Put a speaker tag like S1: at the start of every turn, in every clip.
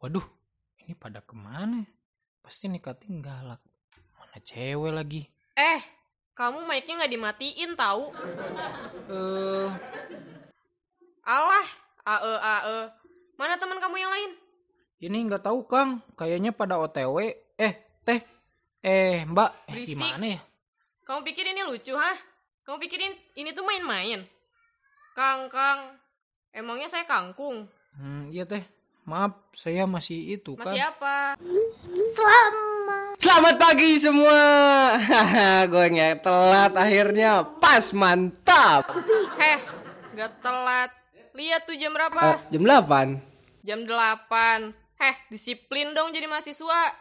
S1: Waduh, ini pada kemana? ya? Pasti nikatin galak. Mana cewek lagi?
S2: Eh, kamu mic-nya nggak dimatiin tahu?
S1: Eh,
S2: Alah, ae ae. E. Mana teman kamu yang lain?
S1: ini nggak tahu Kang. Kayaknya pada OTW. Eh, teh. Eh, Mbak. Eh,
S2: Berisik.
S1: gimana ya?
S2: Kamu pikir ini lucu, hah? Kamu pikirin ini tuh main-main? Kang, Kang. Emangnya saya kangkung?
S1: Hmm, iya teh. Maaf, saya masih itu
S2: Masih
S1: kan.
S2: apa?
S3: Selamat pagi semua. Gue nggak telat akhirnya. Pas mantap.
S2: Heh, gak telat. Lihat tuh jam
S3: Eh,
S2: berapa?
S3: jam 8.
S2: Jam 8. Heh, disiplin dong jadi mahasiswa.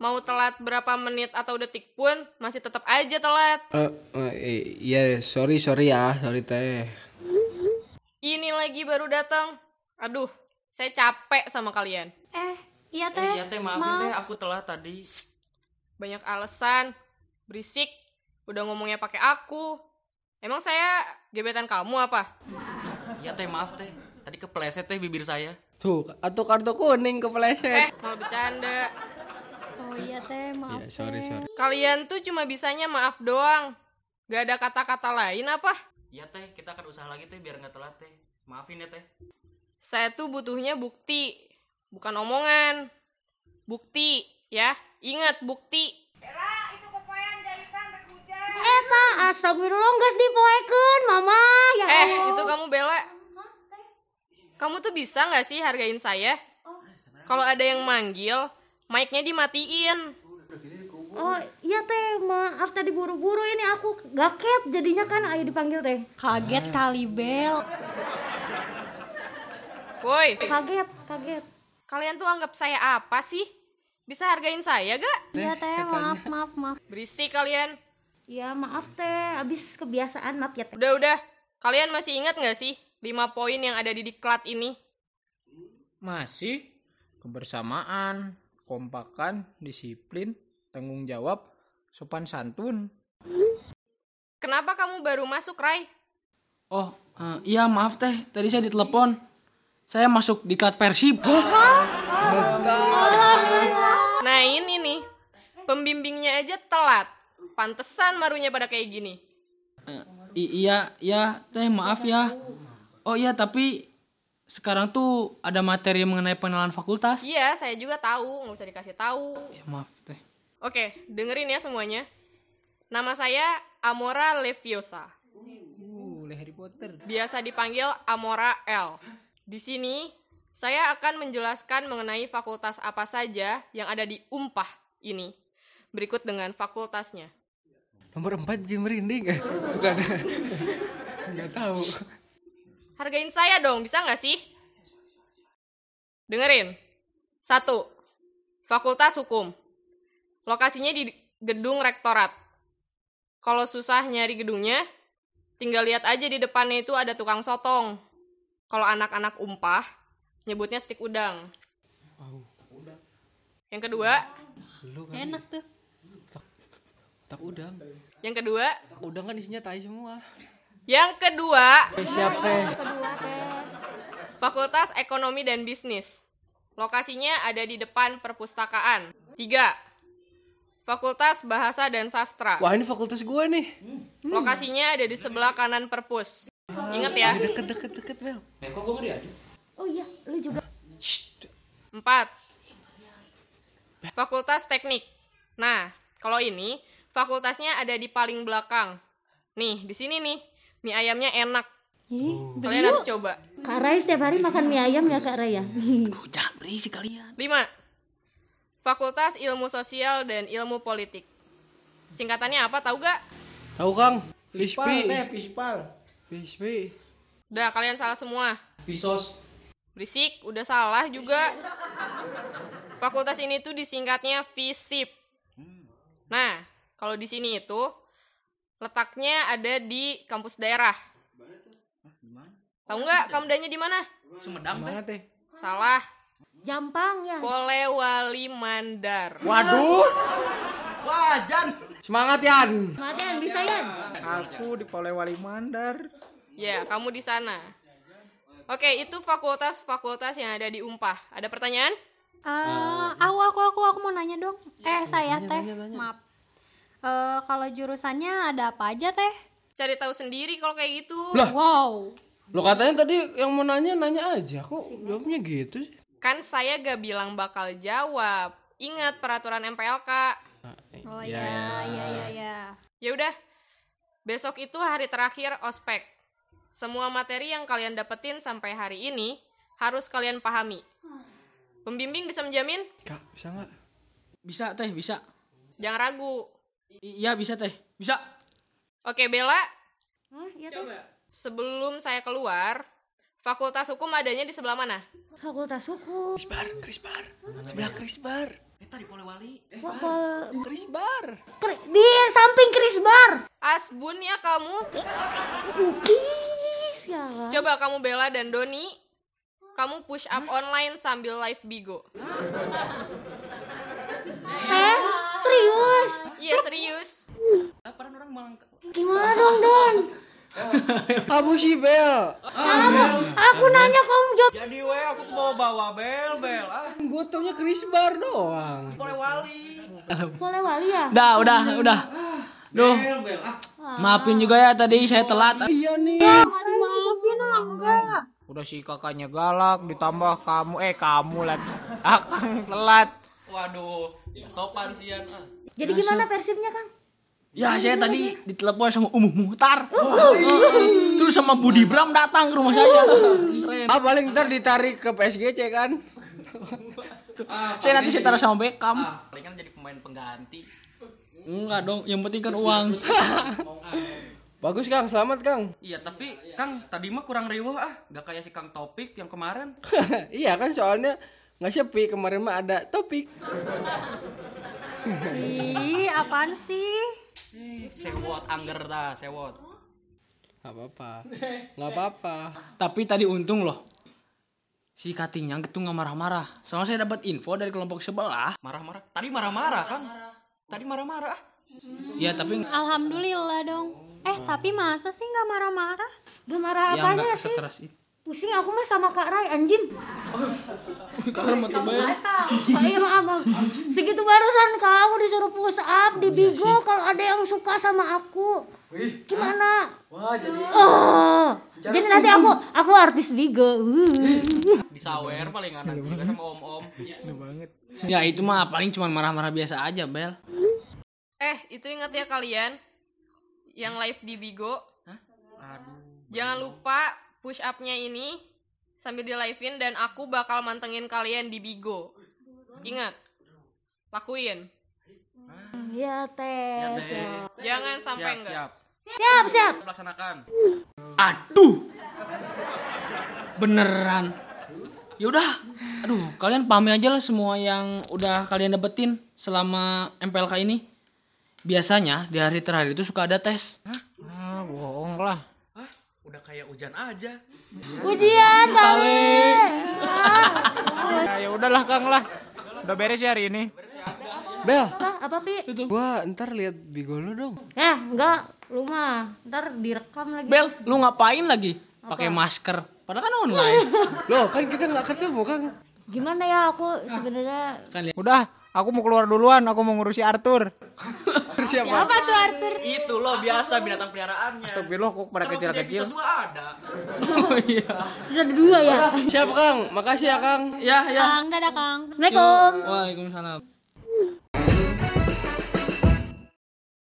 S2: Mau telat berapa menit atau detik pun masih tetap aja telat.
S3: Eh, eh, iya sorry sorry ya, sorry teh.
S2: Ini lagi baru datang. Aduh, saya capek sama kalian.
S4: Eh, iya teh.
S5: Iya teh maafin teh aku telat tadi.
S2: Banyak alasan, berisik, udah ngomongnya pakai aku. Emang saya gebetan kamu apa?
S5: Iya teh maaf teh. Tadi kepleset teh bibir saya.
S3: Tuh, atau kartu kuning
S2: Eh,
S3: kepleset.
S2: malah bercanda.
S4: Oh iya teh, maaf.
S3: Iya, sorry
S4: Teh.
S3: sorry.
S2: Kalian tuh cuma bisanya maaf doang. Gak ada kata-kata lain apa?
S5: Iya teh kita akan usaha lagi teh biar nggak telat teh. Maafin ya teh.
S2: Saya tuh butuhnya bukti, bukan omongan. Bukti, ya. Ingat, bukti.
S6: Eh,
S4: Eta astagfirullah geus dipoekeun, Mama. Ya
S2: Eh, itu kamu bela. Kamu tuh bisa nggak sih hargain saya? Kalau ada yang manggil, mic-nya dimatiin.
S6: Oh iya teh maaf tadi buru-buru ini aku gaket jadinya kan ayo dipanggil teh
S4: Kaget kali Bel.
S2: Woi,
S6: kaget kaget
S2: kalian tuh anggap saya apa sih? Bisa hargain saya gak?
S4: Iya teh, maaf maaf maaf.
S2: Berisik kalian.
S6: ya maaf teh abis kebiasaan maaf ya teh
S2: Udah, udah. Kalian masih ingat nggak sih 5 poin yang ada di diklat ini?
S1: Masih kebersamaan, kompakan, disiplin, tanggung jawab, sopan santun.
S2: Kenapa kamu baru masuk, Rai?
S7: Oh, eh, iya maaf teh, tadi saya ditelepon. Saya masuk di klat Persib.
S2: Nah ini nih, pembimbingnya aja telat. Pantesan marunya pada kayak gini.
S7: I- iya, iya teh maaf ya. Oh iya tapi sekarang tuh ada materi mengenai pengenalan fakultas.
S2: Iya, saya juga tahu, nggak usah dikasih tahu.
S7: Ya, maaf teh.
S2: Oke, dengerin ya semuanya. Nama saya Amora Leviosa.
S1: Uh, Harry Potter.
S2: Biasa dipanggil Amora L. Di sini, saya akan menjelaskan mengenai fakultas apa saja yang ada di UMPAH ini. Berikut dengan fakultasnya.
S3: Nomor 4 Jim Rinding. Eh, bukan. Enggak tahu.
S2: Hargain saya dong, bisa nggak sih? Dengerin. Satu, Fakultas Hukum. Lokasinya di gedung rektorat. Kalau susah nyari gedungnya, tinggal lihat aja di depannya itu ada tukang sotong. Kalau anak-anak umpah, nyebutnya stik udang. Yang kedua,
S4: Enak tuh.
S3: kan. Tak udang.
S2: yang kedua,
S3: Tak udang kan isinya tai semua. Eh,
S2: yang kedua,
S3: siap teh.
S2: Fakultas Ekonomi dan Bisnis. Lokasinya ada di depan perpustakaan. 3. Fakultas Bahasa dan Sastra.
S3: Wah, ini fakultas gue nih.
S2: Lokasinya ada di sebelah kanan perpus. Ingat ya.
S3: Deket-deket deket, Bel.
S6: oh iya lu juga
S2: 4. Fakultas Teknik. Nah, kalau ini fakultasnya ada di paling belakang. Nih, di sini nih. Mie ayamnya enak.
S4: Ih,
S2: Kalian harus coba.
S6: Kak Rai setiap hari makan mie ayam ya Kak Rai ya
S2: 5. Fakultas Ilmu Sosial dan Ilmu Politik. Singkatannya apa tahu gak?
S3: Tahu Kang? Fishpi.
S1: Fispal.
S3: Fishpi.
S2: Udah, kalian salah semua.
S5: Visos.
S2: Berisik, udah salah juga. Fakultas ini tuh disingkatnya FISIP. Nah, kalau di sini itu letaknya ada di kampus daerah. Tahu nggak kamdanya di mana?
S5: Sumedang teh.
S1: Mana teh?
S2: Salah.
S6: jampang ya
S2: Polewali Mandar.
S1: Waduh,
S5: Wah Jan.
S3: Semangat Yan.
S6: Maden bisa ya
S1: aku di Polewali Mandar.
S2: Ya, kamu di sana. Oke, itu fakultas-fakultas yang ada di Umpah. Ada pertanyaan?
S4: Eh, aku aku aku aku mau nanya dong.
S7: Iya,
S4: eh saya teh, maaf. Eh, kalau jurusannya ada apa aja teh?
S2: Cari tahu sendiri kalau kayak gitu.
S3: Lah.
S4: Wow.
S3: Lo katanya tadi yang mau nanya nanya aja kok jawabnya gitu sih.
S2: Kan saya gak bilang bakal jawab. Ingat peraturan MPLK.
S4: Oh ya ya ya ya.
S2: Ya udah. Besok itu hari terakhir ospek. Semua materi yang kalian dapetin sampai hari ini harus kalian pahami. Pembimbing bisa menjamin?
S3: Kak, bisa nggak?
S7: Bisa teh, bisa.
S2: Jangan ragu.
S7: I- iya bisa teh, bisa.
S2: Oke, Bella,
S6: Hah, iya teh.
S2: sebelum saya keluar, Fakultas Hukum adanya di sebelah mana?
S6: Fakultas hukum.
S3: Krisbar, Krisbar. Sebelah Krisbar.
S5: Eh tadi polewali. Eh,
S6: Fakul-
S3: Krisbar.
S6: Kri- di samping Chris Bar.
S2: Asbun ya kamu.
S6: Lukis ya. Allah.
S2: Coba kamu Bella dan Doni, kamu push up online sambil live Bigo.
S6: Eh, serius?
S2: Iya, serius.
S5: laparan orang malang.
S6: Gimana dong, Don?
S3: Kamu sih Bel.
S7: Iya,
S6: Aku nanya kamu jawab.
S5: Jadi we aku bawa bawa bel bel ah
S3: Gue taunya Krisbar doang.
S5: polewali.
S6: Boleh wali ya?
S7: Udah, udah, udah. Duh,
S5: Bel bel ah.
S7: maafin juga ya tadi saya telat.
S3: Iya nih.
S4: Maafin lah enggak.
S1: Udah si kakaknya galak, ditambah kamu, eh kamu lagi. Akang telat.
S5: Waduh, ya sopan sian. Ah.
S6: Jadi gimana persibnya, Kang?
S7: Ya, saya tadi ditelepon sama Umuh Muhtar. Terus sama Budi Bram datang ke rumah saya. Keren.
S3: Ah paling ntar ditarik ke PSGC kan?
S7: Saya nanti saya taruh sama Beckham.
S5: Ah, palingan jadi pemain pengganti.
S7: Enggak dong, yang penting kan uang.
S3: Bagus Kang, selamat Kang.
S5: Iya tapi Kang tadi mah kurang riweuh ah, gak kayak si Kang Topik yang kemarin.
S3: iya kan soalnya nggak sepi kemarin mah ada topik.
S4: Ih, apaan sih?
S5: Eh, sewot angger dah, sewot.
S3: Gak apa-apa. Gak apa-apa.
S7: Tapi tadi untung loh. Si Katinya gitu nggak marah-marah. Soalnya saya dapat info dari kelompok sebelah.
S5: Marah-marah. Tadi marah-marah, Kang. Tadi marah-marah ah.
S7: Ya tapi
S4: Alhamdulillah dong. Eh, tapi masa sih nggak marah-marah?
S6: Gak marah
S7: yang
S6: apanya
S7: Oh. Ya, nggak
S6: sih?
S7: sekeras itu.
S6: Pusing aku mah sama Kak Rai, anjing.
S7: Kalian mau coba?
S6: Ayo abang, segitu barusan kamu disuruh push
S5: Oh,
S6: up
S5: iya
S6: di Bigo kalau ada yang suka sama aku.
S5: ah.
S6: Gimana? Oh, jadi nanti aku aku artis Bigo. Uh.
S5: Disawer
S1: Iya,
S5: palingan nanti juga sama om-om.
S7: Ya itu mah paling cuma marah-marah biasa aja, Bel.
S2: Eh, itu ingat ya kalian yang live di Bigo.
S5: Aduh.
S2: Jangan lupa push up-nya ini sambil di live-in dan aku bakal mantengin kalian di Bigo. Ingat, lakuin.
S6: Ya
S5: Ya,
S6: teh.
S5: teh. Jangan sampai Siap,
S2: enggak.
S5: siap.
S6: Siap siap.
S5: Laksanakan.
S7: Aduh. Beneran. Ya udah. Aduh, kalian pahami aja lah semua yang udah kalian dapetin selama MPLK ini. Biasanya di hari terakhir itu suka ada tes.
S1: Ah, bohong lah.
S5: Hah? Udah kayak hujan aja. Ya,
S6: Ujian kali.
S1: Ya, ya udahlah Kang lah. Udah beres ya hari ini.
S3: Bel,
S6: Apa, apa pi?
S3: gua ntar lihat bigo lu dong.
S6: Eh enggak, lu mah ntar direkam lagi.
S7: Bel, lu ngapain lagi? Pakai masker. Padahal kan online.
S3: Loh, kan kita nggak ketemu Kang.
S6: Gimana ya aku sebenarnya
S1: Udah, aku mau keluar duluan, aku mau ngurusi Arthur.
S3: Terus siapa?
S4: Apa tuh Arthur?
S5: Itu loh biasa binatang peliharaannya.
S1: Astagfirullah kok pada
S5: Kan waktu di
S1: kecil-kecil.
S5: episode dua ada.
S6: episode dua ya.
S7: Iya.
S3: Siap Kang, makasih ya Kang.
S7: ya, ya.
S4: Kang, dadah Kang.
S6: Assalamualaikum.
S7: Waalaikumsalam.